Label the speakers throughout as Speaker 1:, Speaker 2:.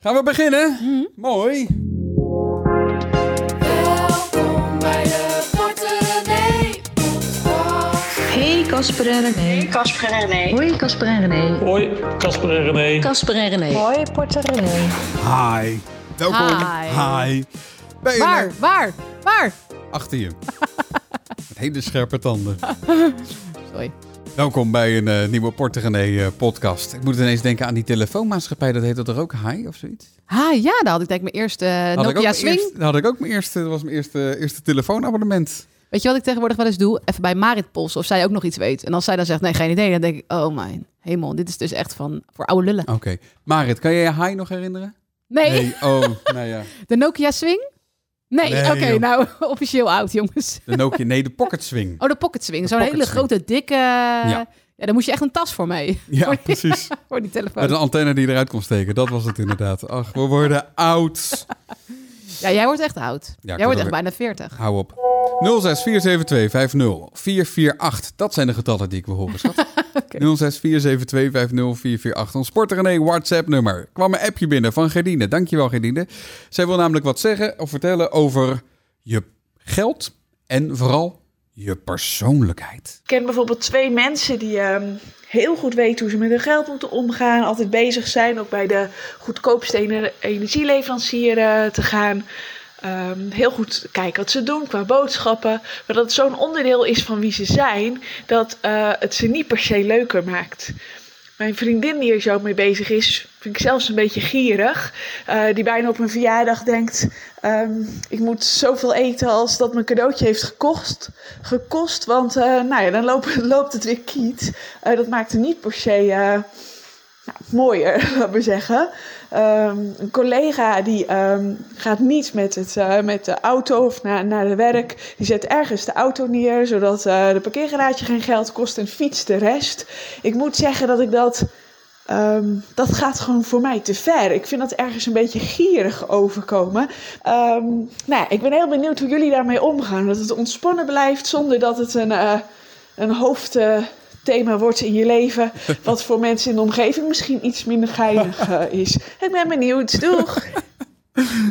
Speaker 1: Gaan we beginnen?
Speaker 2: Mhm.
Speaker 1: Mooi.
Speaker 3: Welkom bij de Korte René podcast.
Speaker 4: Hey Casper en René.
Speaker 5: Casper en René.
Speaker 4: Hoi Casper en René.
Speaker 6: Hoi, Casper en René.
Speaker 4: Casper en René.
Speaker 5: Hoi, Porter René.
Speaker 1: Hi. Welkom.
Speaker 2: Hi.
Speaker 1: Bij je
Speaker 2: Waar, waar, waar?
Speaker 1: Achter je. Met hele scherpe tanden.
Speaker 2: Sorry.
Speaker 1: Welkom bij een eh, nieuwe Portegenee eh podcast. Ik moet ineens denken aan die telefoonmaatschappij. Dat heet dat er ook Hi of zoiets?
Speaker 2: Ha, ja, daar had ik denk ik mijn eerste eh,
Speaker 1: Had ik ook
Speaker 2: Nokia
Speaker 1: mijn
Speaker 2: Swing.
Speaker 1: eerste- had ik ook mijn eerste, dat was mijn eerste, eerste telefoonabonnement.
Speaker 2: Weet je wat ik tegenwoordig wel eens doe? Even bij Marit polsen of zij ook nog iets weet. En als zij dan zegt, nee, geen idee, dan denk ik, oh mijn hemel, dit is dus echt van voor oude lullen.
Speaker 1: Oké. Marit, kan jij je Hi nog herinneren?
Speaker 2: Nee,
Speaker 1: Oh, nou ja.
Speaker 2: de Nokia Swing? Nee,
Speaker 1: Nee,
Speaker 2: oké,
Speaker 1: joh.
Speaker 2: nou, officieel oud, jongens.
Speaker 1: De Nokia, nee, de Pocket Swing.
Speaker 2: Oh, de Pocket Swing, zo'n
Speaker 1: Pocket
Speaker 2: hele
Speaker 1: Swing.
Speaker 2: grote, dikke... eh, Ja. daar moest je echt een tas voor mee,
Speaker 1: Ja, precies.
Speaker 2: voor die telefoon.
Speaker 1: Met een antenne die eruit kon steken, dat was het inderdaad. Ach, we worden oud.
Speaker 2: Ja, jij wordt echt oud.
Speaker 1: word
Speaker 2: jij wordt
Speaker 1: ook-
Speaker 2: echt bijna 40.
Speaker 1: Hou op. 0647250448. Dat zijn de getallen die ik wil horen, schat. 0647250448. Ons Sport René WhatsApp nummer. Kwam een appje binnen van Gerdine. Dankjewel Gerdine. Zij wil namelijk wat zeggen of vertellen over je geld en vooral je persoonlijkheid.
Speaker 5: Ik ken bijvoorbeeld twee mensen die ehm, heel goed weten hoe ze met hun geld moeten omgaan. Altijd bezig zijn ook bij de goedkoopste ener- energieleverancier eh, te gaan. Ehm, heel goed kijken wat ze doen qua boodschappen. Maar dat het zo'n onderdeel is van wie ze zijn, dat eh, het ze niet per se leuker maakt. Mijn vriendin die er zo mee bezig is, vind ik zelfs een beetje gierig. eh, die bijna op een verjaardag denkt, ehm, ik moet zoveel eten als dat mijn cadeautje heeft gekost gekost. Want eh, nou ja, dan loopt, loopt het weer kiet. Eh, dat maakt het niet per se eh, nou, mooier, laten we zeggen. Ehm, een collega die ehm, gaat niet met, het, eh, met de auto of naar, naar de werk. Die zet ergens de auto neer, zodat eh, de parkeergarage geen geld kost en fiets de rest. Ik moet zeggen dat ik dat... ehm, dat gaat gewoon voor mij te ver. Ik vind dat ergens een beetje gierig overkomen. Ehm, nou ja, ik ben heel benieuwd hoe jullie daarmee omgaan. Dat het ontspannen blijft zonder dat het een, eh, een hoofdthema wordt in je leven. Wat voor mensen in de omgeving misschien iets minder geinig eh, is. Ik ben benieuwd. Doeg!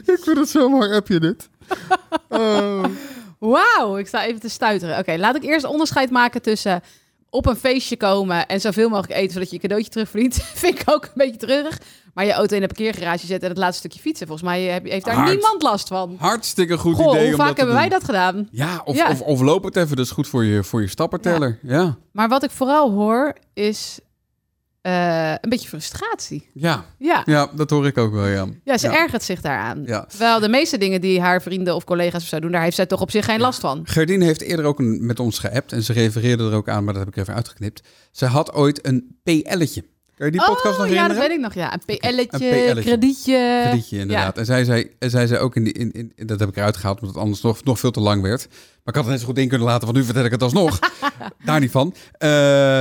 Speaker 1: Ik vind het zo'n mooi appje dit. Eh.
Speaker 2: Wauw, ik sta even te stuiteren. Oké, laat ik eerst onderscheid maken tussen op een feestje komen en zoveel mogelijk eten zodat je je cadeautje terugverdient. Vind ik ook een beetje treurig. Maar je auto in de parkeergarage zetten en het laatste stukje fietsen. Volgens mij eh, heb- heeft daar
Speaker 1: Hard.
Speaker 2: niemand last van.
Speaker 1: Hartstikke goed
Speaker 2: Goh,
Speaker 1: idee
Speaker 2: hoe
Speaker 1: om
Speaker 2: vaak
Speaker 1: dat te
Speaker 2: hebben wij
Speaker 1: doen.
Speaker 2: dat gedaan?
Speaker 1: Ja, of,
Speaker 2: Ja.
Speaker 1: Of, of loop het even. Dat is goed voor je, voor je stappenteller. Ja.
Speaker 2: Maar wat ik vooral hoor is eh, een beetje frustratie.
Speaker 1: Ja.
Speaker 2: Ja,
Speaker 1: ja, dat hoor ik ook wel, ja.
Speaker 2: ja ze
Speaker 1: Ja.
Speaker 2: ergert zich daaraan.
Speaker 1: Ja.
Speaker 2: Terwijl de meeste dingen die haar vrienden of collega's of zo doen, daar heeft zij toch op zich geen last van.
Speaker 1: Gerdine heeft eerder ook een, met ons geappt en ze refereerde er ook aan, maar dat heb ik even uitgeknipt. Ze had ooit een PL'tje. Kan je die podcast nog
Speaker 2: oh, ja,
Speaker 1: herinneren?
Speaker 2: dat weet ik eh, nog. Ja, een PL'tje,
Speaker 1: Een PL'tje.
Speaker 2: kredietje.
Speaker 1: Kredietje, inderdaad. En zij zei, en zij zei ook, in die, in, in- in- dat heb ik eruit gehaald, omdat het anders nog, nog veel te lang werd. Maar ik had het net zo goed in kunnen laten, want nu vertel ik het alsnog. Daar niet van. Eh,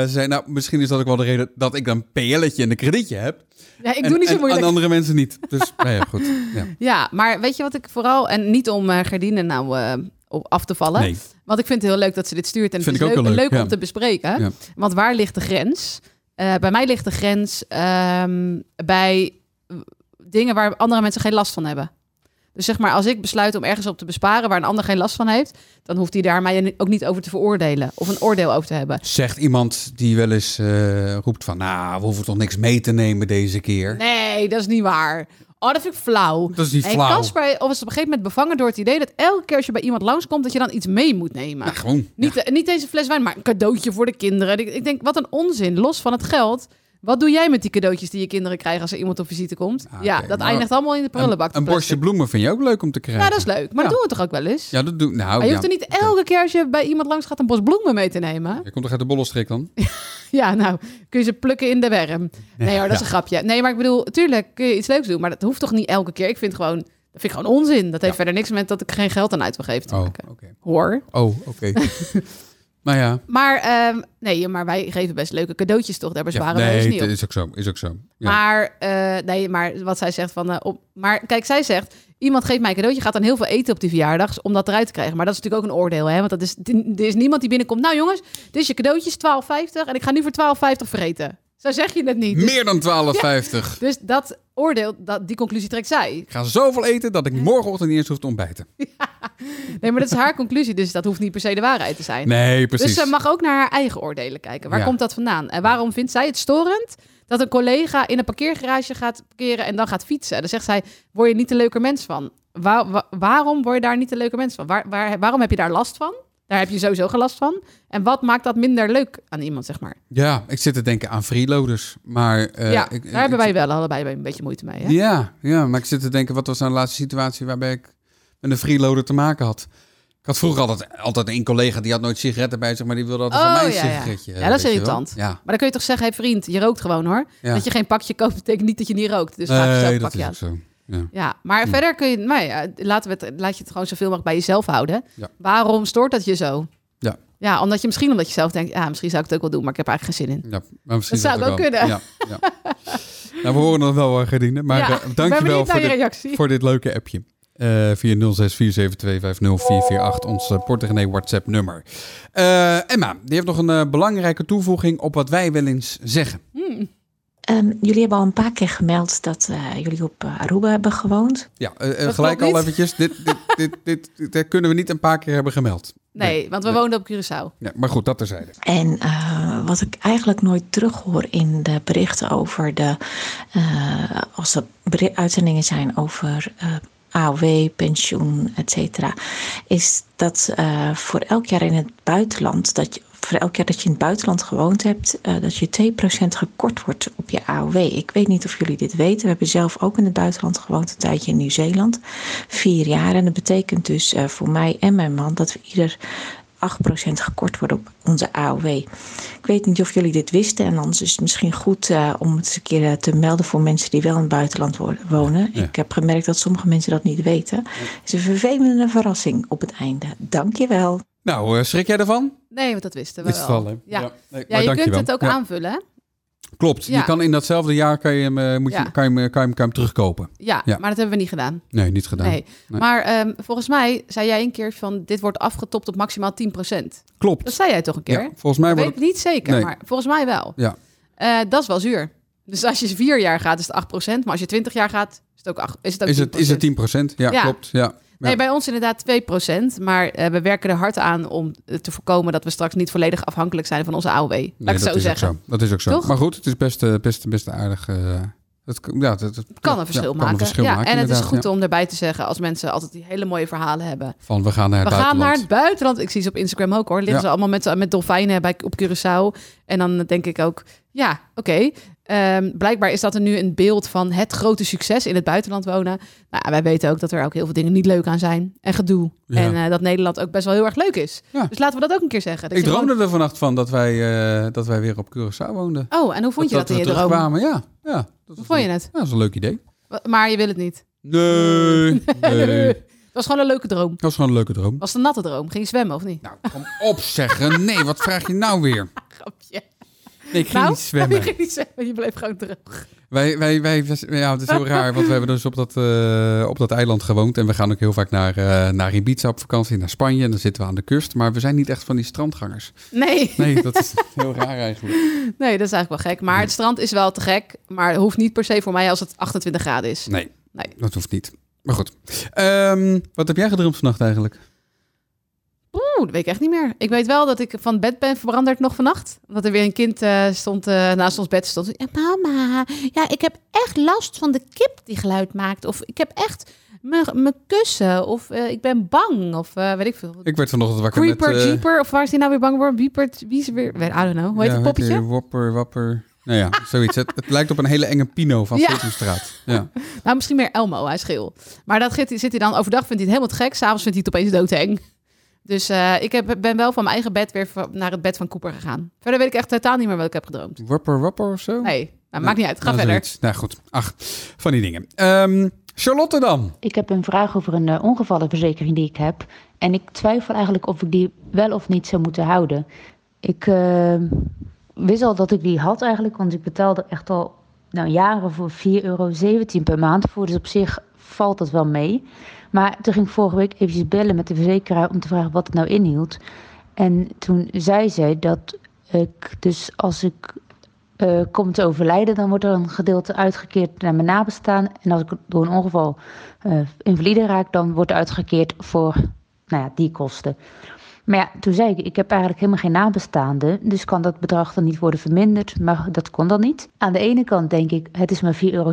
Speaker 1: ze zei, nou, misschien is dat ook wel de reden dat ik dan PL'tje en een kredietje heb.
Speaker 2: Ja, ik
Speaker 1: en,
Speaker 2: doe niet zo
Speaker 1: en-
Speaker 2: moeilijk.
Speaker 1: En andere mensen niet. Dus, nou ja, goed. Ja.
Speaker 2: Ja, maar weet je wat ik vooral... En niet om eh Gerdine nou eh, op af te vallen.
Speaker 1: Nee.
Speaker 2: Want ik vind het heel leuk dat ze dit stuurt. En
Speaker 1: Vind
Speaker 2: het is
Speaker 1: ik ook wel
Speaker 2: leuk,
Speaker 1: leuk,
Speaker 2: leuk
Speaker 1: ja.
Speaker 2: om te bespreken.
Speaker 1: Ja.
Speaker 2: Want waar ligt de grens? Eh, bij mij ligt de grens ehm, bij eh, dingen waar andere mensen geen last van hebben. Dus zeg maar, als ik besluit om ergens op te besparen waar een ander geen last van heeft, dan hoeft hij daar mij ook niet over te veroordelen of een oordeel over te hebben.
Speaker 1: Zegt iemand die wel eens eh, roept van, nou, we hoeven toch niks mee te nemen deze keer.
Speaker 2: Nee, dat is niet waar. Oh, dat vind ik flauw.
Speaker 1: Dat is niet
Speaker 2: En
Speaker 1: flauw.
Speaker 2: Casper was op een gegeven moment bevangen door het idee dat elke keer als je bij iemand langskomt, dat je dan iets mee moet nemen.
Speaker 1: Ja, gewoon.
Speaker 2: niet, eh, niet eens een fles wijn, maar een cadeautje voor de kinderen. Ik, ik denk, wat een onzin. Los van het geld. Wat doe jij met die cadeautjes die je kinderen krijgen als er iemand op visite komt?
Speaker 1: Ah,
Speaker 2: ja,
Speaker 1: oké,
Speaker 2: dat
Speaker 1: maar
Speaker 2: eindigt allemaal in de prullenbak.
Speaker 1: Een, een bosje bloemen vind je ook leuk om te krijgen.
Speaker 2: Ja, dat is leuk. Maar
Speaker 1: Ja.
Speaker 2: dat doen we toch ook wel eens?
Speaker 1: Ja, dat doe Nou,
Speaker 2: Maar je
Speaker 1: ja.
Speaker 2: hoeft er niet elke keer als je bij iemand langs gaat een bos bloemen mee te nemen.
Speaker 1: Je komt toch uit de bollenstreek dan?
Speaker 2: Ja, nou, kun je ze plukken in de werm. Nee hoor, dat is een grapje. Nee, maar ik bedoel, tuurlijk kun je iets leuks doen, maar dat hoeft toch niet elke keer? Ik vind gewoon, dat vind ik gewoon onzin. Dat heeft verder niks met dat ik geen geld aan uit wil geven te
Speaker 1: Oh, oké.
Speaker 2: maken. Hoor.
Speaker 1: Oh, oké. nou ja.
Speaker 2: Maar, ehm, nee, maar wij geven best leuke cadeautjes toch? Daar
Speaker 1: ja.
Speaker 2: bezwaren we ons
Speaker 1: Nee,
Speaker 2: niet
Speaker 1: dat
Speaker 2: op.
Speaker 1: is ook zo. Is ook zo. Ja.
Speaker 2: Maar, eh, nee, maar wat zij zegt van... eh, op, maar kijk, zij zegt... Iemand geeft mij een cadeautje, gaat dan heel veel eten op die verjaardags... om dat eruit te krijgen. Maar dat is natuurlijk ook een oordeel, hè? Want dat is, er is niemand die binnenkomt... Nou jongens, dit is je cadeautjes, 12,50... en ik ga nu voor 12,50 vergeten. Zo zeg je het niet. Dus,
Speaker 1: Meer dan 12,50.
Speaker 2: dus dat oordeel, dat, die conclusie trekt zij.
Speaker 1: Ik ga zoveel eten dat ik morgenochtend niet eens hoef te ontbijten.
Speaker 2: Nee, maar dat is haar conclusie, dus dat hoeft niet per se de waarheid te zijn.
Speaker 1: Nee, precies.
Speaker 2: Dus ze mag ook naar haar eigen oordelen kijken. Waar
Speaker 1: Ja.
Speaker 2: komt dat vandaan? En waarom vindt zij het storend dat een collega in een parkeergarage gaat parkeren en dan gaat fietsen? Dan zegt zij, word je niet een leuker mens van? Waar- wa- waarom word je daar niet een leuker mens van? Waar, waar, waarom heb je daar last van? Daar heb je sowieso geen last van. En wat maakt dat minder leuk aan iemand, zeg maar?
Speaker 1: Ja, ik zit te denken aan freeloaders. Maar, eh,
Speaker 2: ja,
Speaker 1: ik- ik-
Speaker 2: daar hebben
Speaker 1: ik-
Speaker 2: wij wel allebei een beetje moeite mee. Hè?
Speaker 1: Ja, ja, maar ik zit te denken, wat was nou de laatste situatie waarbij ik met een freeloader te maken had? Ik had vroeger altijd, altijd één collega die had nooit sigaretten bij zich, maar die wilde altijd
Speaker 2: Oh,
Speaker 1: van mij een
Speaker 2: ja, ja.
Speaker 1: sigaretje.
Speaker 2: Ja, dat
Speaker 1: weet
Speaker 2: is
Speaker 1: je wel.
Speaker 2: irritant.
Speaker 1: Ja,
Speaker 2: Maar dan kun je toch zeggen, hey vriend, je rookt gewoon hoor.
Speaker 1: ja.
Speaker 2: Dat je geen pakje koopt betekent niet dat je niet rookt. Dus ga
Speaker 1: Nee,
Speaker 2: zelf een
Speaker 1: dat
Speaker 2: pakje
Speaker 1: is
Speaker 2: aan.
Speaker 1: ook zo.
Speaker 2: Ja, maar
Speaker 1: Hm.
Speaker 2: verder kun je, nou ja, laten we het, laat je het gewoon zoveel mogelijk bij jezelf houden.
Speaker 1: Ja.
Speaker 2: Waarom stoort dat je zo?
Speaker 1: Ja.
Speaker 2: Ja, omdat je misschien omdat je zelf denkt, ja, misschien zou ik het ook wel doen, maar ik heb er eigenlijk geen zin in.
Speaker 1: Ja, maar misschien
Speaker 2: Dat zou
Speaker 1: dat
Speaker 2: ik ook
Speaker 1: wel. Ja, ja. nou, we horen het wel, eh, Gerdine. Maar
Speaker 2: ja,
Speaker 1: eh,
Speaker 2: ik ben
Speaker 1: dankjewel
Speaker 2: benieuwd
Speaker 1: voor
Speaker 2: naar je
Speaker 1: dit,
Speaker 2: reactie.
Speaker 1: voor dit leuke appje. Eh via 0647250448, ons eh, Portemonnee WhatsApp-nummer. Eh, Emma, die heeft nog een eh, belangrijke toevoeging op wat wij wel eens zeggen.
Speaker 2: Hmm.
Speaker 6: Ehm, jullie hebben al een paar keer gemeld dat eh, jullie op eh, Aruba hebben gewoond.
Speaker 1: Ja, eh, eh,
Speaker 2: Dat
Speaker 1: gelijk
Speaker 2: klopt
Speaker 1: al
Speaker 2: niet.
Speaker 1: eventjes. Dit, dit, dit, dit, dit, dit kunnen we niet een paar keer hebben gemeld.
Speaker 2: Nee, want we
Speaker 1: nee.
Speaker 2: woonden op Curaçao.
Speaker 1: Nee, maar goed, dat terzijde.
Speaker 6: En eh, wat ik eigenlijk nooit terughoor in de berichten over de. eh, als er beri- uitzendingen zijn over eh AOW, pensioen, et cetera. Is dat eh, voor elk jaar in het buitenland. Dat je, voor elk jaar dat je in het buitenland gewoond hebt. eh, dat je 2% gekort wordt op je AOW. Ik weet niet of jullie dit weten. We hebben zelf ook in het buitenland gewoond. Een tijdje in Nieuw-Zeeland. Vier jaar. En dat betekent dus eh, voor mij en mijn man. dat we ieder 8% gekort wordt op onze AOW. Ik weet niet of jullie dit wisten en anders is het misschien goed eh, om het eens een keer eh, te melden voor mensen die wel in het buitenland wo- wonen.
Speaker 1: Ja.
Speaker 6: Ik heb gemerkt dat sommige mensen dat niet weten. Het is een vervelende verrassing op het einde. Dankjewel.
Speaker 1: Nou, eh, schrik jij ervan?
Speaker 2: Nee, want dat wisten we
Speaker 1: Dit is
Speaker 2: wel.
Speaker 1: het wel, hè?
Speaker 2: Ja.
Speaker 1: nee, maar
Speaker 2: Ja, je kunt
Speaker 1: dankjewel.
Speaker 2: het ook
Speaker 1: Ja,
Speaker 2: aanvullen. hè?
Speaker 1: Klopt.
Speaker 2: Ja.
Speaker 1: Je kan in datzelfde jaar kan je hem, eh, moet je,
Speaker 2: Ja.
Speaker 1: kan je, hem, kan je hem, kan je hem terugkopen.
Speaker 2: Ja,
Speaker 1: Ja.
Speaker 2: maar dat hebben we niet gedaan.
Speaker 1: Nee, niet gedaan.
Speaker 2: Nee.
Speaker 1: Nee.
Speaker 2: Maar ehm, volgens mij zei jij een keer van dit wordt afgetopt op maximaal 10%.
Speaker 1: Klopt.
Speaker 2: Dat zei jij toch een keer?
Speaker 1: Ja, volgens mij
Speaker 2: Dat
Speaker 1: wordt
Speaker 2: weet ik niet zeker,
Speaker 1: Nee.
Speaker 2: maar volgens mij wel.
Speaker 1: Ja.
Speaker 2: Eh, dat is wel zuur. Dus als je vier jaar gaat, is het 8%. Maar als je 20 jaar gaat, is het ook, 8, is het ook
Speaker 1: Is het, is
Speaker 2: 10%.
Speaker 1: het 10%? Ja,
Speaker 2: Ja.
Speaker 1: klopt. Ja.
Speaker 2: Nee, bij ons inderdaad 2%. Maar eh, we werken er hard aan om eh, te voorkomen dat we straks niet volledig afhankelijk zijn van onze AOW. Laat ik
Speaker 1: Nee,
Speaker 2: het
Speaker 1: dat
Speaker 2: zo
Speaker 1: is
Speaker 2: zeggen.
Speaker 1: Ook zo. Dat is ook zo.
Speaker 2: Toch?
Speaker 1: Maar goed, het is best, eh, best, best aardig. eh, het, kan- ja, het, het-
Speaker 2: Kan
Speaker 1: ja,
Speaker 2: een verschil
Speaker 1: ja,
Speaker 2: maken.
Speaker 1: Kan een verschil
Speaker 2: ja,
Speaker 1: maken,
Speaker 2: en het is
Speaker 1: inderdaad,
Speaker 2: goed
Speaker 1: ja.
Speaker 2: om daarbij te zeggen als mensen altijd die hele mooie verhalen hebben.
Speaker 1: Van, we gaan naar
Speaker 2: we
Speaker 1: het
Speaker 2: gaan naar
Speaker 1: buitenland.
Speaker 2: het buitenland. Ik zie ze op Instagram ook hoor. Liggen
Speaker 1: Ja.
Speaker 2: ze allemaal met, met dolfijnen bij, op Curaçao. En dan denk ik ook, ja, oké. Ehm, blijkbaar is dat er nu een beeld van het grote succes in het buitenland wonen. Nou, wij weten ook dat er ook heel veel dingen niet leuk aan zijn. En gedoe.
Speaker 1: Ja.
Speaker 2: En eh, dat Nederland ook best wel heel erg leuk is.
Speaker 1: Ja.
Speaker 2: Dus laten we dat ook een keer zeggen. Dat
Speaker 1: Ik
Speaker 2: je gewoon-
Speaker 1: droomde er vannacht van dat wij, eh, dat wij weer op Curaçao woonden.
Speaker 2: Oh, en hoe vond je dat,
Speaker 1: we
Speaker 2: in je droom?
Speaker 1: terugkwamen, Ja, ja. Dat was
Speaker 2: Hoe vond je
Speaker 1: een-
Speaker 2: het?
Speaker 1: Ja, dat is een leuk idee.
Speaker 2: Wa- Maar je wil het niet.
Speaker 1: Nee, nee.
Speaker 2: Het was gewoon een leuke droom.
Speaker 1: Dat was gewoon een leuke droom.
Speaker 2: Was het een natte droom? Ging je zwemmen of niet?
Speaker 1: Nou, kom op zeggen. Nee, wat vraag je nou weer?
Speaker 2: Grapje.
Speaker 1: Nee, ik ging
Speaker 2: Nou,
Speaker 1: niet zwemmen.
Speaker 2: je ging niet zwemmen. Je bleef gewoon droog.
Speaker 1: Wij, wij, wij, ja, het is heel raar, want we hebben dus op dat, eh, op dat eiland gewoond. En we gaan ook heel vaak naar, eh, naar Ibiza op vakantie, naar Spanje. En dan zitten we aan de kust. Maar we zijn niet echt van die strandgangers.
Speaker 2: Nee.
Speaker 1: Nee, dat is heel raar eigenlijk.
Speaker 2: Nee, dat is eigenlijk wel gek. Maar het strand is wel te gek. Maar het hoeft niet per se voor mij als het 28 graden is.
Speaker 1: Nee,
Speaker 2: Nee.
Speaker 1: dat hoeft niet. Maar goed. Ehm, wat heb jij gedroomd vannacht eigenlijk?
Speaker 2: Oeh, dat weet ik echt niet meer. Ik weet wel dat ik van bed ben veranderd nog vannacht. Omdat er weer een kind eh, stond, eh, naast ons bed stond. Ja, mama, ja, ik heb echt last van de kip die geluid maakt. Of ik heb echt mijn- mijn kussen. Of eh, ik ben bang. Of eh, weet ik veel.
Speaker 1: Ik werd vanochtend wakker
Speaker 2: Creeper,
Speaker 1: met... eh,
Speaker 2: jeeper. Of waar is die nou weer bang voor? Wiepert, wie is er weer? weet- I don't know. Hoe heet
Speaker 1: ja,
Speaker 2: het poppetje?
Speaker 1: die? Wopper, wapper. Nou ja, zoiets. Het, het lijkt op een hele enge pino van
Speaker 2: Ja.
Speaker 1: Sesamstraat. Ja.
Speaker 2: Nou, misschien meer Elmo, hij is geel. Maar dat zit, zit hij dan overdag, vindt hij het helemaal te gek. S'avonds vindt hij het opeens doodeng. Dus eh, ik heb, ben wel van mijn eigen bed weer van- naar het bed van Cooper gegaan. Verder weet ik echt totaal niet meer wat ik heb gedroomd.
Speaker 1: Wopper, wapper of zo?
Speaker 2: Nee, nou, maakt niet uit. Ga
Speaker 1: Nou,
Speaker 2: verder.
Speaker 1: zoiets. Nou goed, ach, van die dingen. Ehm, Charlotte dan?
Speaker 7: Ik heb een vraag over een eh, ongevallenverzekering die ik heb. En ik twijfel eigenlijk of ik die wel of niet zou moeten houden. Ik eh, wist al dat ik die had eigenlijk, want ik betaalde echt al nou, jaren voor 4,17 euro per maand voor. Dus op zich valt dat wel mee. Maar toen ging ik vorige week eventjes bellen met de verzekeraar om te vragen wat het nou inhield. En toen zei zij dat ik dus als ik eh, kom te overlijden, dan wordt er een gedeelte uitgekeerd naar mijn nabestaan. En als ik door een ongeval eh, invalide raak, dan wordt er uitgekeerd voor nou ja, die kosten. Maar ja, toen zei ik, ik heb eigenlijk helemaal geen nabestaanden, dus kan dat bedrag dan niet worden verminderd, maar dat kon dan niet. Aan de ene kant denk ik, het is maar 4,17 euro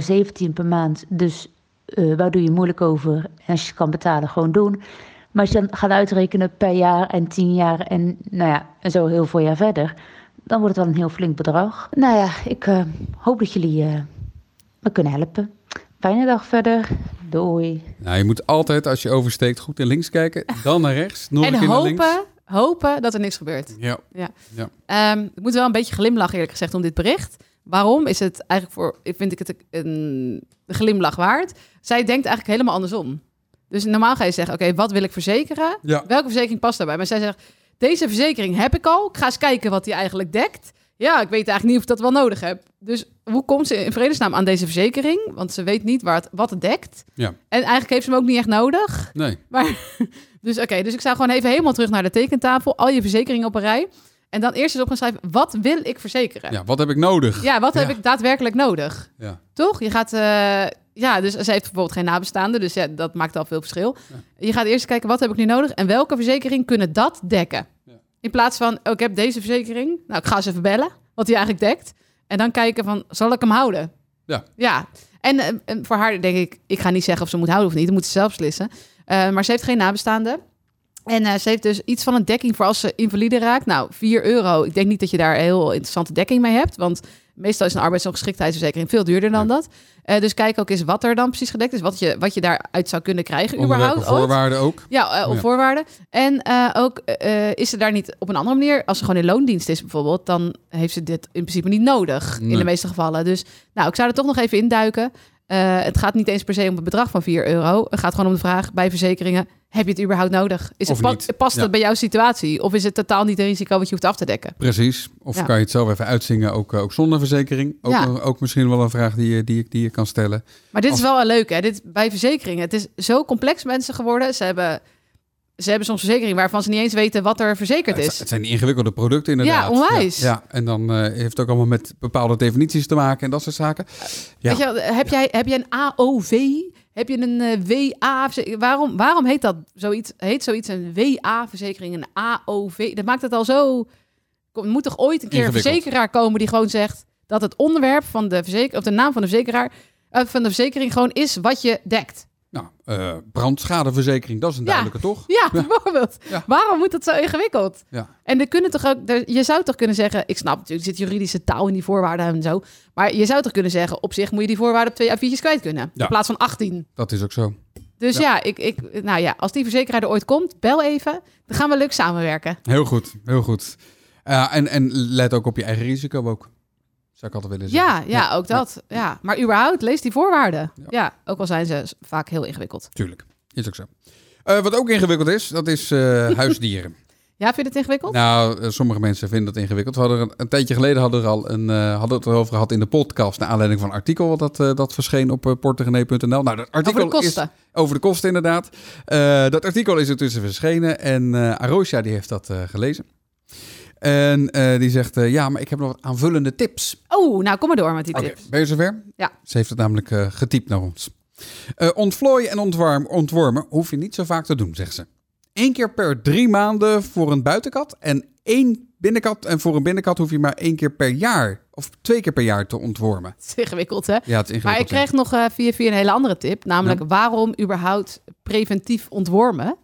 Speaker 7: per maand, dus eh, waar doe je moeilijk over? En als je het kan betalen, gewoon doen. Maar als je dan gaat uitrekenen per jaar en tien jaar en nou ja, en zo heel veel jaar verder, dan wordt het wel een heel flink bedrag. Nou ja, ik eh, hoop dat jullie eh, me kunnen helpen. Fijne dag verder. Doei.
Speaker 1: Nou, je moet altijd als je oversteekt goed naar links kijken, dan naar rechts, nog een
Speaker 2: en
Speaker 1: keer naar links.
Speaker 2: hopen, hopen dat er niks gebeurt.
Speaker 1: Ja,
Speaker 2: Ehm, ik moet wel een beetje glimlachen, eerlijk gezegd, om dit bericht. Waarom is het eigenlijk voor, ik vind ik het een, een glimlach waard? Zij denkt eigenlijk helemaal andersom. Dus normaal ga je zeggen, oké, wat wil ik verzekeren?
Speaker 1: ja.
Speaker 2: Welke verzekering past daarbij? Maar zij zegt, deze verzekering heb ik al. Ik ga eens kijken wat die eigenlijk dekt. Ja, ik weet eigenlijk niet of ik dat wel nodig heb. Dus hoe komt ze in vredesnaam aan deze verzekering? Want ze weet niet waar het, wat het dekt.
Speaker 1: Ja.
Speaker 2: En eigenlijk heeft ze hem ook niet echt nodig.
Speaker 1: nee.
Speaker 2: Dus oké, dus ik zou gewoon even helemaal terug naar de tekentafel. Al je verzekeringen op een rij. En dan eerst eens op gaan schrijven, wat wil ik verzekeren?
Speaker 1: Ja, wat heb ik nodig?
Speaker 2: Ja, wat heb
Speaker 1: Ja.
Speaker 2: ik daadwerkelijk nodig?
Speaker 1: Ja.
Speaker 2: Toch? Je gaat... eh, ja, dus ze heeft bijvoorbeeld geen nabestaanden. Dus ja, dat maakt al veel verschil. Je gaat eerst kijken, wat heb ik nu nodig? En welke verzekering kunnen dat dekken?
Speaker 1: Ja.
Speaker 2: In plaats van, oh, ik heb deze verzekering. Nou, ik ga eens even bellen. Wat die eigenlijk dekt. En dan kijken van, zal ik hem houden?
Speaker 1: Ja.
Speaker 2: Ja. En, eh, en voor haar denk ik, ik ga niet zeggen of ze moet houden of niet. Dat moet ze zelf beslissen. Eh, maar ze heeft geen nabestaanden. En eh, ze heeft dus iets van een dekking voor als ze invalide raakt. Nou, 4 euro. Ik denk niet dat je daar een heel interessante dekking mee hebt. Want meestal is een arbeidsongeschiktheidsverzekering veel duurder dan dat. Eh, dus kijk ook eens wat er dan precies gedekt is. Wat je, wat je daaruit zou kunnen krijgen
Speaker 1: Onder welke
Speaker 2: überhaupt. ooit.
Speaker 1: eh, voorwaarden ook?
Speaker 2: Ja, eh, op
Speaker 1: Ja.
Speaker 2: voorwaarden. En eh, ook eh, eh, is ze daar niet op een andere manier, als ze gewoon in loondienst is bijvoorbeeld, dan heeft ze dit in principe niet nodig in
Speaker 1: Nee.
Speaker 2: de meeste gevallen. Dus nou, ik zou er toch nog even induiken. Eh het gaat niet eens per se om het bedrag van 4 euro. Het gaat gewoon om de vraag bij verzekeringen: heb je het überhaupt nodig? Is
Speaker 1: Of
Speaker 2: het pa-
Speaker 1: niet?
Speaker 2: Past het
Speaker 1: Ja.
Speaker 2: bij jouw situatie? Of is het totaal niet een risico wat je hoeft af te dekken?
Speaker 1: Precies. Of
Speaker 2: Ja.
Speaker 1: kan je het zelf even uitzingen, ook, eh, ook zonder verzekering? Ook,
Speaker 2: Ja.
Speaker 1: een- ook misschien wel een vraag die je, die, je- die je kan stellen.
Speaker 2: Maar dit is
Speaker 1: Als-
Speaker 2: wel een leuk, hè? Dit bij verzekeringen. Het is zo complex mensen geworden. Ze hebben, ze hebben soms verzekeringen waarvan ze niet eens weten wat er verzekerd
Speaker 1: Het,
Speaker 2: is.
Speaker 1: het zijn ingewikkelde producten inderdaad.
Speaker 2: Ja, onwijs.
Speaker 1: Ja, ja. en dan eh, heeft het ook allemaal met bepaalde definities te maken en dat soort zaken. Ja.
Speaker 2: Weet je, wel, heb, jij, heb jij een AOV? Heb je een eh, WA? verze- Waarom, waarom heet dat zoiets? Heet zoiets een WA-verzekering, een AOV? Dat maakt het al zo. Kom, moet toch ooit een keer een
Speaker 1: Ingewikkeld.
Speaker 2: verzekeraar komen die gewoon zegt dat het onderwerp van de verzeker, of de naam van de verzekeraar eh, van de verzekering gewoon is wat je dekt.
Speaker 1: Nou, eh, brandschadeverzekering, dat is een
Speaker 2: Ja.
Speaker 1: duidelijke toch?
Speaker 2: Ja, bijvoorbeeld.
Speaker 1: Ja.
Speaker 2: Waarom moet dat zo ingewikkeld?
Speaker 1: Ja.
Speaker 2: En er kunnen toch ook, er- je zou toch kunnen zeggen, ik snap natuurlijk, er zit juridische taal in die voorwaarden en zo. Maar je zou toch kunnen zeggen, op zich moet je die voorwaarden op twee A4'tjes kwijt kunnen.
Speaker 1: Ja.
Speaker 2: In plaats van 18.
Speaker 1: Dat is ook zo.
Speaker 2: Dus
Speaker 1: Ja.
Speaker 2: ja, ik, ik, nou ja, als die verzekeraar er ooit komt, bel even. Dan gaan we leuk samenwerken.
Speaker 1: Heel goed, heel goed. Eh, en, en let ook op je eigen risico ook. Zou ik altijd willen zeggen.
Speaker 2: Ja, ja, ook dat. Ja. Maar überhaupt, lees die voorwaarden. Ja. ook al zijn ze s- vaak heel ingewikkeld.
Speaker 1: Tuurlijk, is ook zo. Eh, wat ook ingewikkeld is, dat is eh, huisdieren.
Speaker 2: Ja, vind je het ingewikkeld?
Speaker 1: nou, eh, sommige mensen vinden dat ingewikkeld. We hadden er een, een tijdje geleden hadden we er al een, eh, hadden we het erover gehad in de podcast. Naar aanleiding van een artikel wat dat, eh, dat verscheen op eh, portegene.nl. Nou, dat artikel
Speaker 2: Over de
Speaker 1: is
Speaker 2: kosten.
Speaker 1: Over de kosten inderdaad. Eh, dat artikel is intussen verschenen en eh Arosia die heeft dat eh, gelezen. En eh, die zegt, eh, ja, maar ik heb nog wat aanvullende tips.
Speaker 2: Oh, nou kom maar door met die
Speaker 1: Oké,
Speaker 2: tips.
Speaker 1: ben je zover?
Speaker 2: Ja.
Speaker 1: Ze heeft het namelijk eh, getypt naar ons. Eh, ontvlooien en ontwarm, ontwormen hoef je niet zo vaak te doen, zegt ze. Eén keer per drie maanden voor een buitenkat en één binnenkat. En voor een binnenkat hoef je maar één keer per jaar of twee keer per jaar te ontwormen.
Speaker 2: Het is ingewikkeld, hè?
Speaker 1: Ja, het is ingewikkeld.
Speaker 2: Maar ik
Speaker 1: hè?
Speaker 2: kreeg nog eh, via via een hele andere tip. Namelijk, waarom überhaupt preventief ontwormen?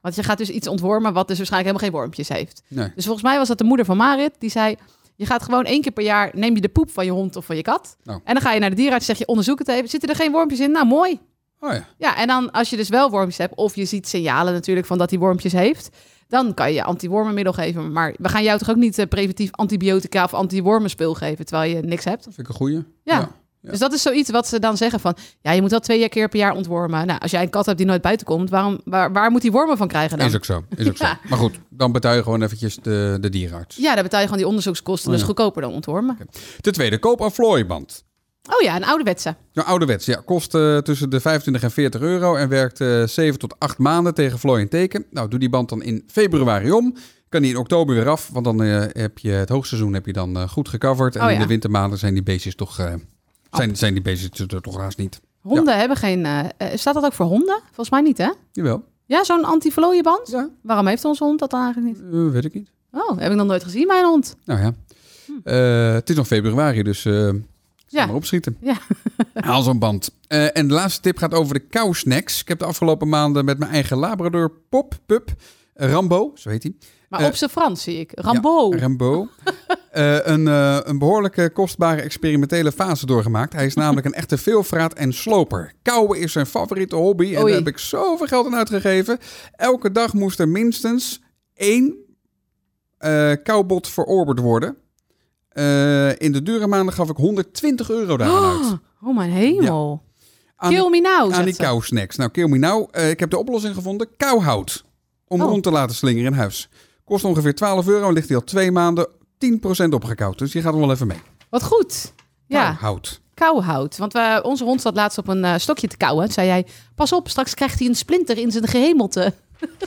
Speaker 2: Want je gaat dus iets ontwormen wat dus waarschijnlijk helemaal geen wormpjes heeft.
Speaker 1: Nee.
Speaker 2: Dus volgens mij was dat de moeder van Marit. Die zei, je gaat gewoon één keer per jaar... neem je de poep van je hond of van je kat.
Speaker 1: Nou.
Speaker 2: En dan ga je naar de dierenarts zeg je, onderzoek het even. Zitten er geen wormpjes in? Nou, mooi.
Speaker 1: Oh ja,
Speaker 2: Ja, en dan als je dus wel wormpjes hebt... of je ziet signalen natuurlijk van dat hij wormpjes heeft... dan kan je antiwormenmiddel geven. Maar we gaan jou toch ook niet eh, preventief antibiotica... of antiwormenspul geven, terwijl je niks hebt?
Speaker 1: dat vind ik een goeie.
Speaker 2: Ja.
Speaker 1: Ja.
Speaker 2: Dus dat is zoiets wat ze dan zeggen van... ja, je moet wel twee keer per jaar ontwormen. Nou, als jij een kat hebt die nooit buiten komt... waarom, waar, waar moet die wormen van krijgen dan?
Speaker 1: Is ook zo, is ook
Speaker 2: Ja.
Speaker 1: zo. Maar goed, dan betaal je gewoon eventjes de, de dierenarts.
Speaker 2: Ja, dan betaal je gewoon die onderzoekskosten.
Speaker 1: Oh
Speaker 2: dus
Speaker 1: ja.
Speaker 2: goedkoper dan ontwormen.
Speaker 1: Ten tweede, koop een vlooiband.
Speaker 2: Oh ja, een ouderwetse.
Speaker 1: Nou, ouderwets, ja. Kost eh, tussen de 25 en 40 euro en werkt eh 7 tot 8 maanden tegen vlooi en teken. Nou, doe die band dan in februari om. Kan die in oktober weer af, want dan eh, heb je het hoogseizoen heb je dan eh, goed gecoverd. En
Speaker 2: Oh,
Speaker 1: in
Speaker 2: ja.
Speaker 1: de wintermaanden zijn die beestjes toch, eh, zijn, zijn die beestjes er toch haast niet.
Speaker 2: Honden hebben geen... eh, eh, staat dat ook voor honden? Volgens mij niet, hè?
Speaker 1: Jawel.
Speaker 2: Ja, zo'n anti-vlooienband.
Speaker 1: Ja.
Speaker 2: Waarom heeft onze hond dat dan eigenlijk niet?
Speaker 1: Eh, weet ik niet.
Speaker 2: Oh, heb ik nog nooit gezien, mijn hond.
Speaker 1: Nou ja.
Speaker 2: Hm.
Speaker 1: Eh, het is nog februari, dus eh
Speaker 2: Ja.
Speaker 1: ja. maar opschieten.
Speaker 2: Ja.
Speaker 1: Haal zo'n band. Eh, en de laatste tip gaat over de kousnacks. Ik heb de afgelopen maanden met mijn eigen labrador pop, pup, Rambo, zo heet hij.
Speaker 2: Maar
Speaker 1: Eh,
Speaker 2: op zijn Frans zie ik. Rambo.
Speaker 1: Rambo. Eh, een, eh, een behoorlijke kostbare experimentele fase doorgemaakt. Hij is namelijk een echte veelvraat en sloper. Kouwen is zijn favoriete hobby en
Speaker 2: Oei.
Speaker 1: daar heb ik zoveel geld aan uitgegeven. Elke dag moest er minstens één eh koubot verorberd worden. Eh, in de dure maanden gaf ik 120 euro daaraan
Speaker 2: oh,
Speaker 1: uit.
Speaker 2: oh, mijn hemel.
Speaker 1: Aan,
Speaker 2: Kill me now,
Speaker 1: aan
Speaker 2: zegt
Speaker 1: die
Speaker 2: ze.
Speaker 1: kousnacks. Nou, kill me nou. eh, ik heb de oplossing gevonden. Kouhout. Om
Speaker 2: Oh.
Speaker 1: rond te laten slingeren in huis. Kost ongeveer 12 euro en ligt hij al twee maanden 10% opgekoud. Dus die gaat hem wel even mee.
Speaker 2: Wat goed. Ja,
Speaker 1: Kouhout.
Speaker 2: kauwhout. Want we, onze hond zat laatst op een eh, stokje te kauwen. Toen zei jij, pas op, straks krijgt hij een splinter in zijn gehemelte.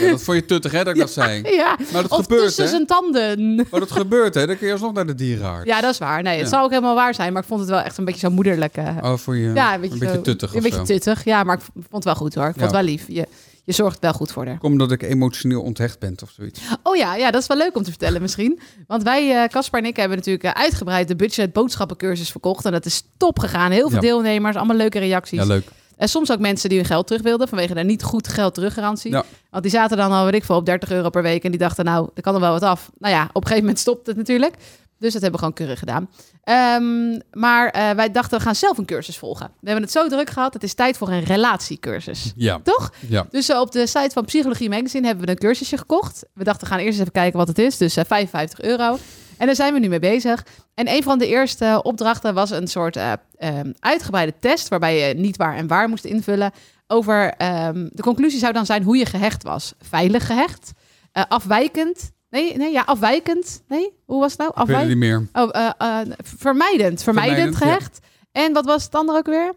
Speaker 1: Ja, dat vond je tuttig, hè, dat ik dat zei.
Speaker 2: Ja,
Speaker 1: Maar dat
Speaker 2: of
Speaker 1: gebeurt,
Speaker 2: tussen
Speaker 1: hè.
Speaker 2: zijn tanden.
Speaker 1: Maar dat gebeurt, hè. Dan kun je alsnog naar de dierenarts.
Speaker 2: Ja, dat is waar. Nee, het
Speaker 1: Ja.
Speaker 2: zou ook helemaal waar zijn. Maar ik vond het wel echt een beetje zo moederlijk. eh,
Speaker 1: Oh, voor je
Speaker 2: ja,
Speaker 1: een beetje,
Speaker 2: zo-
Speaker 1: tuttig
Speaker 2: Een
Speaker 1: of
Speaker 2: beetje
Speaker 1: zo.
Speaker 2: tuttig, ja. Maar ik vond het wel goed hoor. Ik vond het
Speaker 1: Ja.
Speaker 2: wel lief. Je, je zorgt wel goed voor haar.
Speaker 1: Kom omdat ik emotioneel onthecht ben of zoiets.
Speaker 2: Oh ja, ja, dat is wel leuk om te vertellen misschien. Want wij, eh, Caspar en ik, hebben natuurlijk eh, uitgebreid de budget boodschappencursus verkocht. En dat is top gegaan. Heel veel
Speaker 1: Ja.
Speaker 2: deelnemers, allemaal leuke reacties.
Speaker 1: Ja, leuk.
Speaker 2: En soms ook mensen die hun geld terug wilden vanwege de niet goed geld teruggarantie.
Speaker 1: Ja.
Speaker 2: Want die zaten dan al, weet ik veel, op 30 euro per week. En die dachten, nou, er kan er wel wat af. Nou ja, op een gegeven moment stopt het natuurlijk. Dus dat hebben we gewoon keurig gedaan. Ehm, maar eh, wij dachten, we gaan zelf een cursus volgen. We hebben het zo druk gehad. Het is tijd voor een relatiecursus.
Speaker 1: Ja.
Speaker 2: Toch?
Speaker 1: Ja.
Speaker 2: Dus eh, op de site van Psychologie Magazine hebben we een cursusje gekocht. We dachten, we gaan eerst eens even kijken wat het is. Dus eh, 55 euro. En daar zijn we nu mee bezig. En een van de eerste opdrachten was een soort eh, ehm, uitgebreide test... waarbij je niet waar en waar moest invullen. Over, ehm, de conclusie zou dan zijn hoe je gehecht was. Veilig gehecht, eh, afwijkend... Nee, nee, ja, afwijkend. Nee, hoe was het nou?
Speaker 1: Ik weet het
Speaker 2: Afwijkend.
Speaker 1: niet meer.
Speaker 2: Oh, eh, eh, vermijdend. Vermijdend,
Speaker 1: Vermijdend, ja.
Speaker 2: gehecht. En wat was het andere ook weer?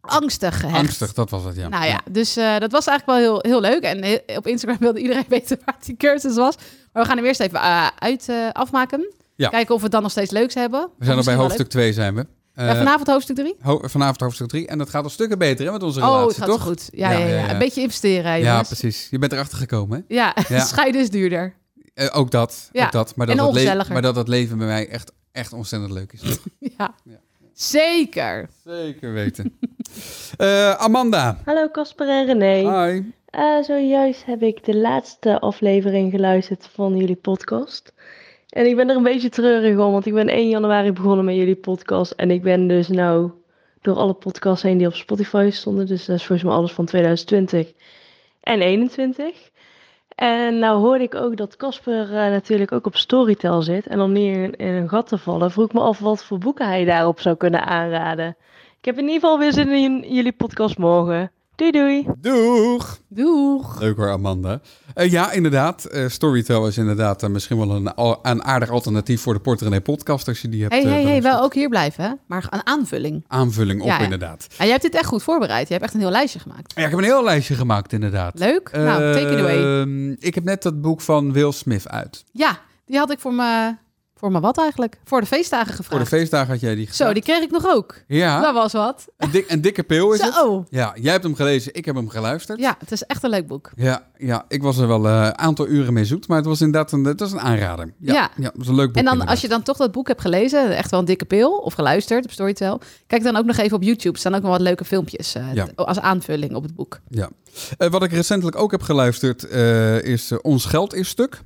Speaker 2: Angstig gehecht.
Speaker 1: Angstig, dat was het, ja.
Speaker 2: Nou ja, dus eh, dat was eigenlijk wel heel, heel leuk. En he- op Instagram wilde iedereen weten waar die cursus was. Maar we gaan hem eerst even eh, uit eh, afmaken.
Speaker 1: Ja.
Speaker 2: Kijken of we het dan nog steeds leuks hebben.
Speaker 1: We zijn
Speaker 2: Of
Speaker 1: nog bij
Speaker 2: misschien wel
Speaker 1: hoofdstuk 2, zijn we.
Speaker 2: leuk.
Speaker 1: Eh,
Speaker 2: Ja, vanavond hoofdstuk 3.
Speaker 1: ho- vanavond hoofdstuk 3. En dat gaat al stukken beter, hè, met onze
Speaker 2: Oh, het
Speaker 1: relatie,
Speaker 2: gaat
Speaker 1: toch?
Speaker 2: goed. Ja, ja, ja, Een beetje investeren, hè,
Speaker 1: Ja,
Speaker 2: jongens. Ja,
Speaker 1: precies. Je bent erachter gekomen, hè? Ja.
Speaker 2: scheiden is duurder.
Speaker 1: Eh, ook dat,
Speaker 2: Ja,
Speaker 1: ook dat. Maar dat,
Speaker 2: en
Speaker 1: het le-
Speaker 2: ongezelliger.
Speaker 1: maar dat het leven bij mij echt, echt ontzettend leuk is.
Speaker 2: Ja.
Speaker 1: Ja.
Speaker 2: Zeker.
Speaker 1: Zeker weten. Eh, Amanda.
Speaker 8: Hallo Casper en René.
Speaker 1: Hi.
Speaker 8: Eh, zojuist heb ik de laatste aflevering geluisterd van jullie podcast. En ik ben er een beetje treurig om, want ik ben 1 januari begonnen met jullie podcast. En ik ben dus nou door alle podcasts heen die op Spotify stonden. Dus dat is volgens mij alles van 2020 en 21. En nou hoorde ik ook dat Casper eh, natuurlijk ook op Storytel zit. En om niet in, in een gat te vallen, vroeg ik me af wat voor boeken hij daarop zou kunnen aanraden. Ik heb in ieder geval weer zin in jullie podcast morgen. Doei doei!
Speaker 1: Doeg.
Speaker 2: Doeg.
Speaker 1: Leuk hoor, Amanda. Eh, ja, inderdaad. eh Storytel is inderdaad eh, misschien wel een, al- een aardig alternatief voor de Port René podcast. Als je die hebt.
Speaker 2: Hé,
Speaker 1: eh,
Speaker 2: hé, hé,
Speaker 1: beluisterd.
Speaker 2: wel ook hier blijven, hè? maar een aanvulling.
Speaker 1: Aanvulling op,
Speaker 2: Ja, ja.
Speaker 1: inderdaad.
Speaker 2: En jij hebt dit echt goed voorbereid. Je hebt echt een heel lijstje gemaakt.
Speaker 1: Ja, ik heb een heel lijstje gemaakt, inderdaad.
Speaker 2: Leuk. nou, take it away.
Speaker 1: Ehm, ik heb net dat boek van Will Smith uit.
Speaker 2: Ja, die had ik voor mijn... Voor mijn wat eigenlijk? Voor de feestdagen gevraagd.
Speaker 1: Voor de feestdagen had jij die
Speaker 2: Ah. Zo,
Speaker 1: gezien.
Speaker 2: die kreeg ik nog ook.
Speaker 1: Ja,
Speaker 2: Dat was wat.
Speaker 1: een, dik, een dikke pil Ah. is het.
Speaker 2: Zo. Oh.
Speaker 1: Ja, jij hebt hem gelezen, ik heb hem geluisterd.
Speaker 2: Ja, het is echt een leuk boek.
Speaker 1: Ja, ja, ik was er wel eh, een aantal uren mee zoet, maar het was inderdaad een, het was een aanrader. Ja,
Speaker 2: Ja.
Speaker 1: ja. het was een leuk boek.
Speaker 2: En dan,
Speaker 1: inderdaad.
Speaker 2: als je dan toch dat boek hebt gelezen, echt wel een dikke pil, of geluisterd op Storytel, kijk dan ook nog even op YouTube. Er staan ook nog wat leuke filmpjes eh,
Speaker 1: Ja.
Speaker 2: t- als aanvulling op het boek.
Speaker 1: ja. Eh, wat ik recentelijk ook heb geluisterd eh, is eh, Ons Geld is Stuk.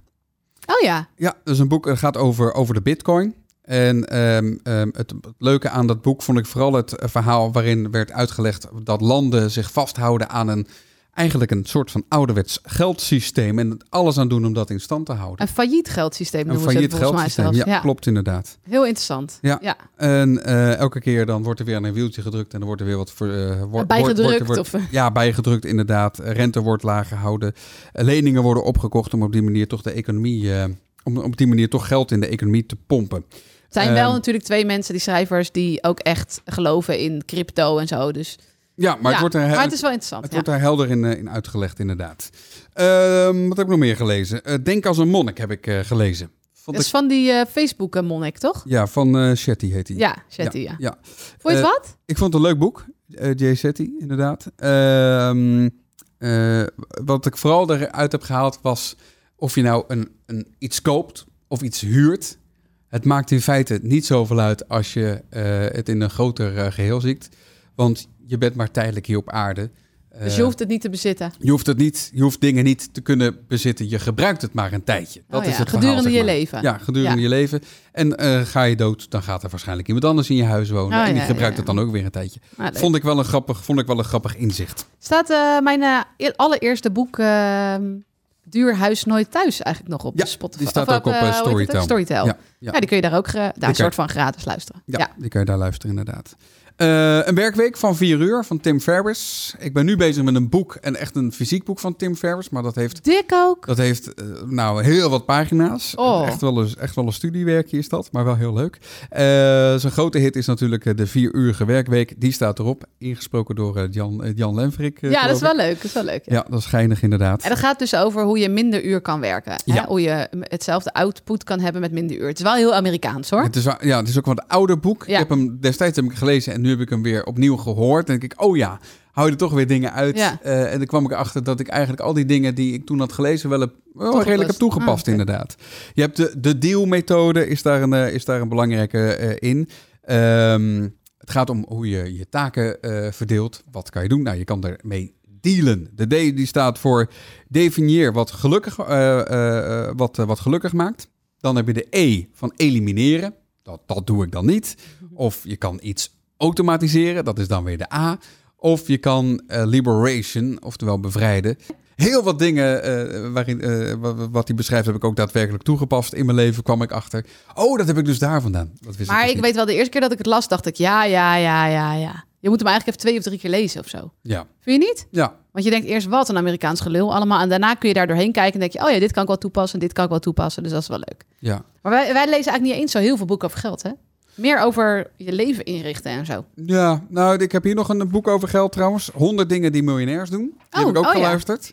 Speaker 2: Oh ja,
Speaker 1: Ja, dat is een boek dat gaat over, over de bitcoin. En ehm, ehm, het, het leuke aan dat boek vond ik vooral het eh, verhaal waarin werd uitgelegd dat landen zich vasthouden aan een eigenlijk een soort van ouderwets geldsysteem en er alles aan doen om dat in stand te houden.
Speaker 2: een failliet geldsysteem
Speaker 1: Een
Speaker 2: noemen ze het
Speaker 1: failliet
Speaker 2: volgens mij
Speaker 1: geldsysteem,
Speaker 2: zelfs.
Speaker 1: ja,
Speaker 2: Ja,
Speaker 1: klopt inderdaad.
Speaker 2: Heel interessant.
Speaker 1: Ja.
Speaker 2: ja.
Speaker 1: En eh, elke keer dan wordt er weer aan een wieltje gedrukt en dan wordt er weer wat voor, eh, wor- wordt-
Speaker 2: Bijgedrukt
Speaker 1: wordt- wordt-
Speaker 2: of... eh,
Speaker 1: ja, bijgedrukt inderdaad. Eh, Rente wordt laag gehouden. Eh, Leningen worden opgekocht om op die manier toch de economie, eh, om op die manier toch geld in de economie te pompen.
Speaker 2: zijn
Speaker 1: Ehm,
Speaker 2: wel natuurlijk twee mensen, die schrijvers, die ook echt geloven in crypto en zo. Dus,
Speaker 1: Ja, maar
Speaker 2: ja,
Speaker 1: het wordt er
Speaker 2: maar
Speaker 1: heel-
Speaker 2: het is wel interessant.
Speaker 1: Het
Speaker 2: ja.
Speaker 1: wordt daar helder in, eh, in uitgelegd, inderdaad. Ehm, wat heb ik nog meer gelezen? Eh, Denk als een monnik heb ik eh, gelezen. Vond
Speaker 2: Dat is
Speaker 1: ik,
Speaker 2: van die eh, Facebook-monnik, toch?
Speaker 1: ja, van eh Shetty heet hij.
Speaker 2: Ja, Shetty, ja.
Speaker 1: ja.
Speaker 2: Vond je het
Speaker 1: Eh,
Speaker 2: wat?
Speaker 1: Ik vond het een leuk boek, eh, Jay Shetty, inderdaad. Ehm, eh, wat ik vooral eruit heb gehaald was of je nou een, een, iets koopt of iets huurt. Het maakt in feite niet zoveel uit als je eh, het in een groter eh, geheel ziet. Want je bent maar tijdelijk hier op aarde.
Speaker 2: Dus
Speaker 1: Eh,
Speaker 2: je hoeft het niet te bezitten.
Speaker 1: Je hoeft, het niet, je hoeft dingen niet te kunnen bezitten. Je gebruikt het maar een tijdje. Dat
Speaker 2: Oh
Speaker 1: is
Speaker 2: ja,
Speaker 1: het verhaal,
Speaker 2: gedurende
Speaker 1: zeg
Speaker 2: je
Speaker 1: maar.
Speaker 2: leven.
Speaker 1: Ja, gedurende
Speaker 2: Ja.
Speaker 1: je leven. En eh, ga je dood, dan gaat er waarschijnlijk iemand anders in je huis wonen.
Speaker 2: Oh
Speaker 1: en die
Speaker 2: ja,
Speaker 1: gebruikt
Speaker 2: ja,
Speaker 1: het
Speaker 2: ja.
Speaker 1: dan ook weer een tijdje.
Speaker 2: Ah, leuk.
Speaker 1: Vond ik wel een grappig, vond ik wel een grappig inzicht.
Speaker 2: Staat eh, mijn eh, e- allereerste boek ehm, Duur Huis Nooit Thuis eigenlijk nog op
Speaker 1: Ja,
Speaker 2: Spotify?
Speaker 1: die staat
Speaker 2: Of
Speaker 1: ook op,
Speaker 2: eh,
Speaker 1: eh,
Speaker 2: hoe heet het
Speaker 1: Storytel.
Speaker 2: ook? Storytel.
Speaker 1: Ja,
Speaker 2: Ja,
Speaker 1: ja.
Speaker 2: die kun je daar ook gra- daar
Speaker 1: kan-
Speaker 2: een soort van gratis luisteren.
Speaker 1: Ja,
Speaker 2: Ja.
Speaker 1: die kan je daar luisteren inderdaad. Eh, een werkweek van 4 uur van Tim Ferriss. Ik ben nu bezig met een boek en echt een fysiek boek van Tim Ferriss. Maar dat heeft,
Speaker 2: Dik ook.
Speaker 1: dat heeft eh, nou heel wat pagina's.
Speaker 2: Oh.
Speaker 1: Echt, wel een, echt wel een studiewerkje is dat, maar wel heel leuk. Eh, zijn grote hit is natuurlijk eh, de 4-urige werkweek. Die staat erop, ingesproken door eh, Jan, eh, Jan Lenfrik. eh,
Speaker 2: ja, dat
Speaker 1: geloof
Speaker 2: is
Speaker 1: ik.
Speaker 2: wel leuk. Dat is wel leuk. ja.
Speaker 1: Ja, dat is geinig inderdaad.
Speaker 2: En dat gaat dus over hoe je minder uur kan werken.
Speaker 1: Ja.
Speaker 2: Hè? Hoe je m- hetzelfde output kan hebben met minder uur. Het is wel heel Amerikaans hoor.
Speaker 1: Het is, wel- ja, het is ook wat ouder boek. Ik
Speaker 2: Ja.
Speaker 1: heb hem destijds heb ik gelezen en nu heb ik hem weer opnieuw gehoord. En denk ik, oh ja, hou je er toch weer dingen uit.
Speaker 2: Ja.
Speaker 1: Eh, en dan kwam ik erachter dat ik eigenlijk al die dingen die ik toen had gelezen wel, heb, wel
Speaker 2: Toegepast.
Speaker 1: redelijk heb toegepast,
Speaker 2: Ah, oké.
Speaker 1: inderdaad. Je hebt de, de deal-methode, is, daar een, eh, is daar een belangrijke eh, in. Ehm, het gaat om hoe je je taken eh, verdeelt. Wat kan je doen? Nou, je kan ermee dealen. De D die staat voor definieer wat gelukkig, eh, eh, eh, wat, eh, wat gelukkig maakt. Dan heb je de E van elimineren. Dat, dat doe ik dan niet.
Speaker 2: Mhm.
Speaker 1: Of je kan iets automatiseren. Dat is dan weer de A. Of je kan eh, liberation, oftewel bevrijden. Heel wat dingen eh, waarin, eh, wa- wa- wat hij beschrijft heb ik ook daadwerkelijk toegepast. In mijn leven kwam ik achter. Oh, dat heb ik dus daar vandaan. Dat wist
Speaker 2: maar
Speaker 1: dus
Speaker 2: ik
Speaker 1: niet.
Speaker 2: weet wel, de eerste keer dat ik het las, dacht ik ja, ja, ja, ja, ja. Je moet hem eigenlijk even twee of drie keer lezen of zo.
Speaker 1: Ja,
Speaker 2: Vind je niet?
Speaker 1: ja.
Speaker 2: Want je denkt eerst wat een Amerikaans gelul allemaal. En daarna kun je daar doorheen kijken en denk je... oh ja, dit kan ik wel toepassen, dit kan ik wel toepassen. Dus dat is wel leuk.
Speaker 1: Ja.
Speaker 2: Maar wij, wij lezen eigenlijk niet eens zo heel veel boeken over geld, hè? Meer over je leven inrichten en zo.
Speaker 1: Ja, nou, ik heb hier nog een boek over geld trouwens. 100 dingen die miljonairs doen. Die
Speaker 2: Oh,
Speaker 1: heb ik ook
Speaker 2: oh ja.
Speaker 1: geluisterd.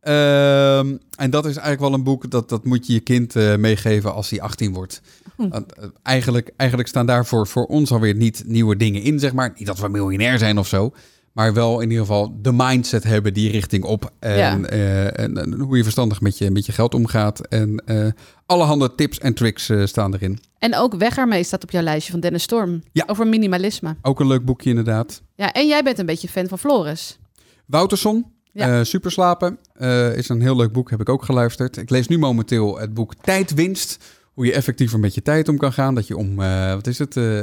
Speaker 1: Ehm, en dat is eigenlijk wel een boek dat, dat moet je je kind eh, meegeven als hij 18 wordt.
Speaker 2: Hm.
Speaker 1: Want, eh, eigenlijk, eigenlijk staan daarvoor voor ons alweer niet nieuwe dingen in, zeg maar. Niet dat we miljonair zijn of zo. Maar wel in ieder geval de mindset hebben die richting op. En,
Speaker 2: Ja.
Speaker 1: eh, en, en hoe je verstandig met je, met je geld omgaat. En eh allerhande tips en tricks eh, staan erin.
Speaker 2: En ook Weg ermee staat op jouw lijstje van Dennis Storm.
Speaker 1: Ja.
Speaker 2: Over minimalisme.
Speaker 1: Ook een leuk boekje inderdaad.
Speaker 2: Ja, en jij bent een beetje fan van Floris.
Speaker 1: Wouterson,
Speaker 2: Ja.
Speaker 1: eh, Superslapen, eh, is een heel leuk boek, heb ik ook geluisterd. Ik lees nu momenteel het boek Tijdwinst. Hoe je effectiever met je tijd om kan gaan. Dat je om, eh, wat is het, eh,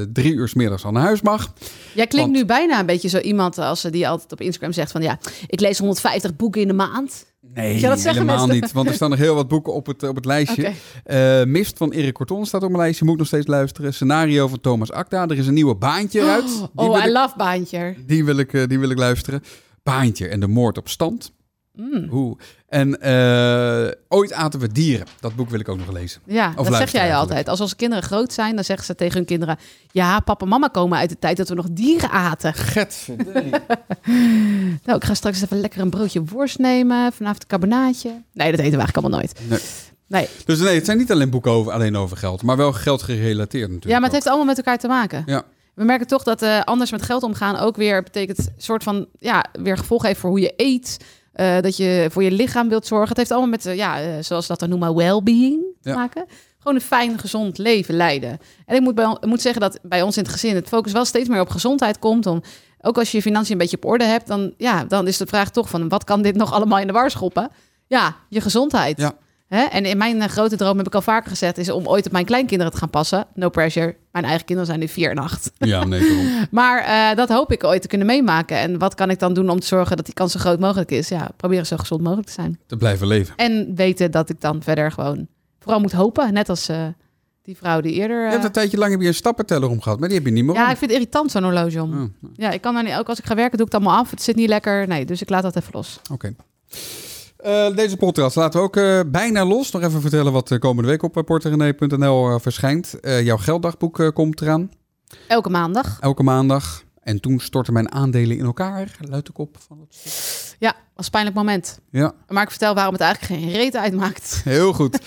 Speaker 1: eh, drie uur 's middags al naar huis mag.
Speaker 2: Jij klinkt
Speaker 1: Want-
Speaker 2: nu bijna een beetje zo iemand als ze die altijd op Instagram zegt van... ja, ik lees 150 boeken in de maand.
Speaker 1: Nee,
Speaker 2: Zou dat zeggen,
Speaker 1: helemaal
Speaker 2: mensen?
Speaker 1: niet. Want er staan nog heel wat boeken op het, op het lijstje.
Speaker 2: Oké.
Speaker 1: Eh, Mist van Erik Corton staat op mijn lijstje. Moet ik nog steeds luisteren. Scenario van Thomas Acta. Er is een nieuwe baantje uit. Die
Speaker 2: Oh,
Speaker 1: wil
Speaker 2: I
Speaker 1: ik-
Speaker 2: love Baantje.
Speaker 1: Die wil ik, eh, die wil ik luisteren. Baantje en de moord op stand.
Speaker 2: Mm.
Speaker 1: Oeh. En eh, ooit aten we dieren. Dat boek wil ik ook nog lezen.
Speaker 2: Ja, dat zeg jij
Speaker 1: luisteren eigenlijk.
Speaker 2: altijd. Als onze kinderen groot zijn, dan zeggen ze tegen hun kinderen... ja, papa en mama komen uit de tijd dat we nog dieren aten.
Speaker 1: Getverdering.
Speaker 2: Nou, ik ga straks even lekker een broodje worst nemen. Vanavond een carbonaatje. Nee, dat eten we eigenlijk allemaal nooit.
Speaker 1: Nee.
Speaker 2: Nee.
Speaker 1: Dus nee, het zijn niet alleen boeken over, alleen over geld, maar wel geld gerelateerd natuurlijk.
Speaker 2: Ja, maar het heeft allemaal met elkaar te maken.
Speaker 1: Ja.
Speaker 2: We merken toch dat eh, anders met geld omgaan ook weer betekent soort van ja, weer gevolg heeft voor hoe je eet. eh, dat je voor je lichaam wilt zorgen. Het heeft allemaal met, eh, ja, eh, zoals dat dan noemen, well-being te
Speaker 1: Ja.
Speaker 2: maken. Gewoon een fijn, gezond leven leiden. En ik moet, bij, ik moet zeggen dat bij ons in het gezin het focus wel steeds meer op gezondheid komt. Om, ook als je je financiën een beetje op orde hebt, dan, ja, dan is de vraag toch van wat kan dit nog allemaal in de war schoppen? Ja, je gezondheid.
Speaker 1: Ja.
Speaker 2: Hè? En in mijn eh, grote droom heb ik al vaker gezet, is om ooit op mijn kleinkinderen te gaan passen. No pressure. Mijn eigen kinderen zijn nu vier en acht.
Speaker 1: Ja, nee, daarom.
Speaker 2: Maar eh, dat hoop ik ooit te kunnen meemaken. En wat kan ik dan doen om te zorgen dat die kans zo groot mogelijk is? Ja, proberen zo gezond mogelijk te zijn.
Speaker 1: te blijven leven.
Speaker 2: En weten dat ik dan verder gewoon vooral moet hopen. Net als eh, die vrouw die eerder...
Speaker 1: Je
Speaker 2: eh,
Speaker 1: hebt een tijdje lang heb je een stappenteller om gehad, maar die heb je niet meer
Speaker 2: ja,
Speaker 1: om.
Speaker 2: ik vind het irritant zo'n horloge om.
Speaker 1: Oh,
Speaker 2: Ja, ik kan daar niet... Ook als ik ga werken doe ik het allemaal af. Het zit niet lekker. Nee, dus ik laat dat even los.
Speaker 1: Oké. Eh, deze podcast laten we ook eh, bijna los. Nog even vertellen wat eh, komende week op uh, porterenee.nl eh, verschijnt. Eh, jouw gelddagboek eh, komt eraan.
Speaker 2: Elke maandag.
Speaker 1: Elke maandag. En toen storten mijn aandelen in elkaar. Luidt de kop van het stuk.
Speaker 2: Ja, was een pijnlijk moment.
Speaker 1: Ja,
Speaker 2: Maar ik vertel waarom het eigenlijk geen reet uitmaakt.
Speaker 1: heel goed. 20%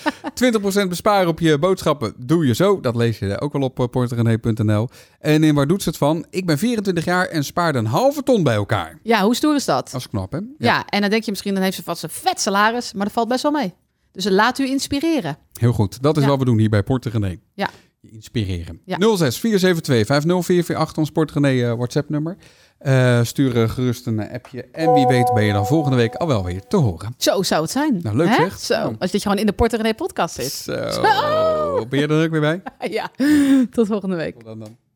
Speaker 1: besparen op je boodschappen. Doe je zo. Dat lees je ook wel op eh, porterenee.nl. En in waar doet ze het van? Ik ben 24 jaar en spaarde een halve ton bij elkaar.
Speaker 2: Ja, hoe stoer is dat?
Speaker 1: Dat is knap, hè? Ja.
Speaker 2: Ja. en dan denk je misschien, dan heeft ze vast een vet salaris, maar dat valt best wel mee. Dus laat u inspireren.
Speaker 1: Heel goed. Dat is
Speaker 2: Ja.
Speaker 1: wat we doen hier bij Porterenee.
Speaker 2: Ja.
Speaker 1: Je Inspireren.
Speaker 2: Ja.
Speaker 1: 06 472 50448 ons Porterenee eh WhatsApp nummer. Eh, stuur eh, gerust een eh, appje. En wie weet ben je dan volgende week al wel weer te horen.
Speaker 2: Zo zou het zijn.
Speaker 1: Nou, leuk
Speaker 2: Hè?
Speaker 1: zeg.
Speaker 2: Zo,
Speaker 1: Nou.
Speaker 2: als dat je gewoon in de Porter René podcast zit.
Speaker 1: Zo. Ben je er ook weer bij?
Speaker 2: Ja, tot volgende week.
Speaker 1: Tot dan dan.